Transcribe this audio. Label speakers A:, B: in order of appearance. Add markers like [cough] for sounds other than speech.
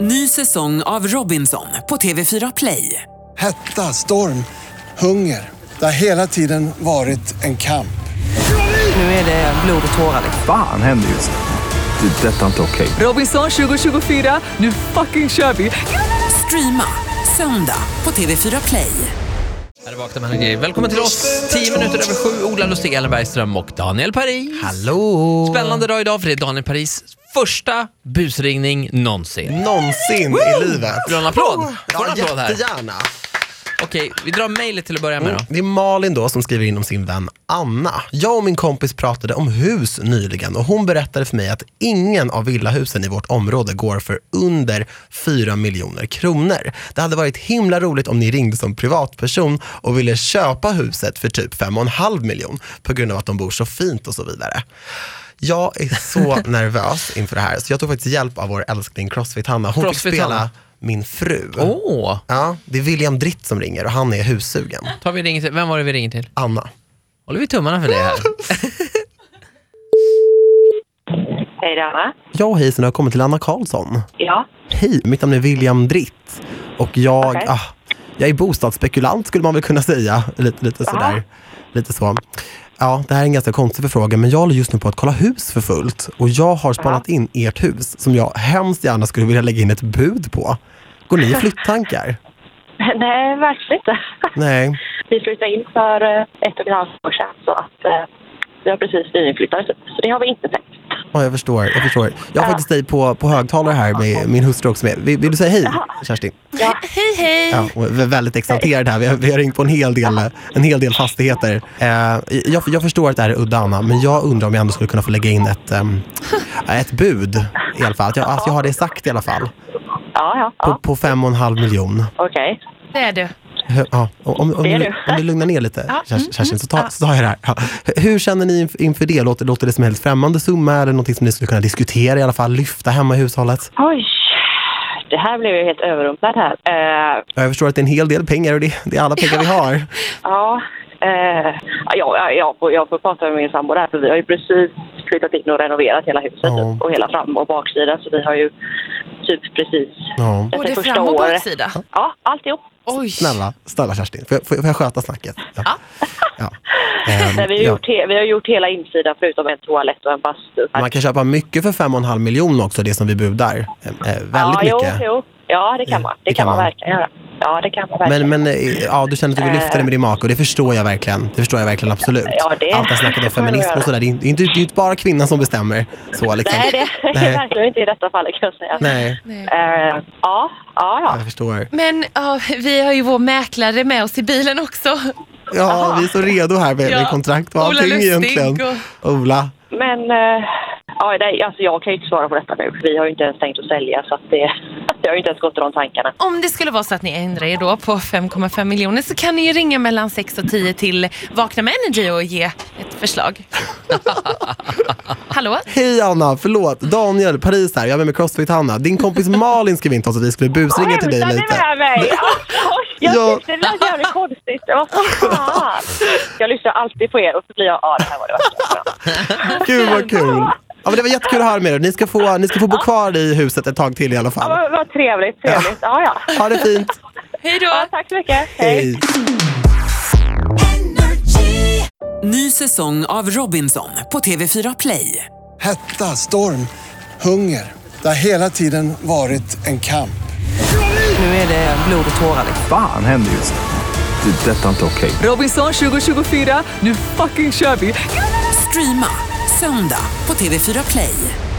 A: Ny säsong av Robinson på TV4 Play.
B: Hetta, storm, hunger. Det har hela tiden varit en kamp.
A: Nu är det blod och tårar.
C: Fan händer just nu. Det. är Detta är inte okej.
A: Robinson 2024, nu fucking kör vi! Streama söndag på TV4 Play.
D: Här är Vakna med energi. Välkommen till oss! 10 minuter över sju, Ola Lustig, Ellen Bergström och Daniel Paris.
E: Hallå!
D: Spännande dag idag för det är Daniel Paris första busringning någonsin.
E: Någonsin i livet.
D: Vill du ha en applåd? Får en
E: Ja,
D: applåd här.
E: jättegärna.
D: Okej, vi drar mejlet till att börja med då.
E: Det är Malin då som skriver in om sin vän Anna. Jag och min kompis pratade om hus nyligen och hon berättade för mig att ingen av villahusen i vårt område går för under 4 miljoner kronor. Det hade varit himla roligt om ni ringde som privatperson och ville köpa huset för typ 5,5 miljon på grund av att de bor så fint och så vidare. Jag är så nervös inför det här så jag tog faktiskt hjälp av vår älskling Crossfit-Hanna. Hon fick
D: Crossfit-Hanna.
E: spela min fru.
D: Åh!
E: Ja, det är William Dritt som ringer och han är hussugen.
D: Tar vi ringen till, vem var det vi ringer till?
E: Anna.
D: Håller vi tummarna för det här.
F: Hej det är Anna.
E: Ja, hejsan, jag har kommit till Anna Karlsson.
F: Ja. [laughs]
E: Hej, mitt namn är William Dritt och jag,
F: Okej.
E: ah, jag är bostadsspekulant skulle man väl kunna säga. Lite, lite sådär. Lite så. Ja, det här är en ganska konstig förfrågan, men jag håller just nu på att kolla hus för fullt och jag har spanat in ert hus som jag hemskt gärna skulle vilja lägga in ett bud på. Går ni i flytttankar?
F: Nej, verkligen inte. [laughs]
E: Nej.
F: Vi flyttade in för eh, ett och ett halvt år sedan så att eh, vi har precis nyinflyttade typ. Så det har vi inte tänkt.
E: Ja, jag förstår. Jag förstår. Jag har
F: Ja.
E: faktiskt dig på, på högtalare här med min hustru också med. Vill, vill du säga hej, Kerstin?
F: Ja.
E: Ja, och vi är väldigt exalterad här. Vi har, vi har ringt på en hel del, en hel del fastigheter. Eh, jag, jag förstår att det här är udda, Anna, men jag undrar om jag ändå skulle kunna få lägga in ett,
F: [laughs]
E: ehm, ett bud i alla fall. Att jag, att jag har det sagt i alla fall.
F: Ja, ja.
E: På,
F: ja.
E: på fem och en halv miljon.
F: Okej.
G: Det är du.
E: Hö- Ja, om, om, om,
F: Det är
E: du,
F: du.
E: om du lugnar ner lite,
G: Ja,
E: Kers-
G: mm,
E: Kerstin,
G: mm,
E: så, tar,
G: ja.
E: så tar jag det här. Ja. Hur känner ni inf- inför det? Låter, låter det som en helt främmande summa? Är det någonting som ni skulle kunna diskutera i alla fall? Lyfta hemma i hushållet?
F: Oj. Det här blev ju helt överrumplad här. Eh,
E: Ja, Jag förstår att det är en hel del pengar och det, det är alla pengar vi har.
F: ja. Eh, ja, ja, jag, får, jag får prata med min sambo där för vi har ju precis flyttat in och renoverat hela huset
E: Ja.
F: typ, och hela fram och baksidan så vi har ju typ precis
E: Ja.
F: detta
G: Både
F: första
G: fram och
F: året.
G: baksida.
F: Ja, alltihop.
G: Oj!
E: Snälla, snälla Kerstin, får jag, får jag- får jag sköta snacket? Ja. Ja. Ehm,
F: Nej, vi, har
E: ja.
F: gjort he- vi har gjort hela insidan förutom en toalett och en bastu.
E: Man kan köpa mycket för 5,5 miljoner också, det som vi budar. Ehm, eh, väldigt
F: ja,
E: mycket.
F: Jo, jo. Ja, det kan man. Det, kan man, verkligen göra. Ja, det kan man verkligen.
E: Men, men eh, ja, du känner att du vill lyfta det med din make och det förstår jag verkligen. Det förstår jag verkligen absolut.
F: Ja, det-
E: Allt det här snacket
F: [laughs]
E: om
F: det får jag
E: feminism
F: göra.
E: och sådär, det är inte, det är inte- det är inte bara kvinnan som bestämmer. Så, liksom.
F: Nej, det [laughs] är
E: Nej.
F: verkligen inte i detta fallet kan jag säga.
E: Nej,
G: Nej.
F: Eh, ja, ja, ja.
E: jag förstår.
G: Men ja, vi har ju vår mäklare med oss i bilen också.
E: Ja, vi är så redo här med, med
G: Ja.
E: kontrakt och
G: Ola
E: allting
G: Lustig
E: egentligen. Ola,
F: Men eh, ja, nej, alltså jag kan ju inte svara på detta nu. Vi har ju inte ens tänkt att sälja så att det, [laughs] det har ju inte ens gått i de tankarna.
G: Om det skulle vara så att ni ändrar er då på 5,5 miljoner så kan ni ju ringa mellan 6 och 10 till Vakna med Energy och ge ett förslag. [laughs] Hallå?
E: Hej Anna, förlåt. Daniel, Paris här. Jag är med med Crossfit-Hanna. Din kompis Malin skrev in till oss att vi skulle busringa till dig
F: Skämtar ni
E: lite. [laughs]
F: med mig? Alltså, jag
E: Ja.
F: tyckte det lät jävligt konstigt. Vad fan? Jag lyssnar alltid på er och så blir jag... Ja, det här var det värsta.
E: Gud vad kul. Ja, men det var jättekul att höra med er. Ni ska få, ni ska få bo kvar i huset ett tag till i alla
F: Ja,
E: fall.
F: vad, vad trevligt, trevligt. Ja, ja.
E: Ha det fint.
G: Hej då!
F: ja tack så mycket.
E: Hej.
A: Ny säsong av Robinson på TV4 Play.
B: Hetta, storm, hunger. Det har hela tiden varit en kamp.
C: Fan händer just nu. Det. är Detta är inte okej.
A: Robinson 2024, nu fucking kör vi! Streama söndag på TV4 Play.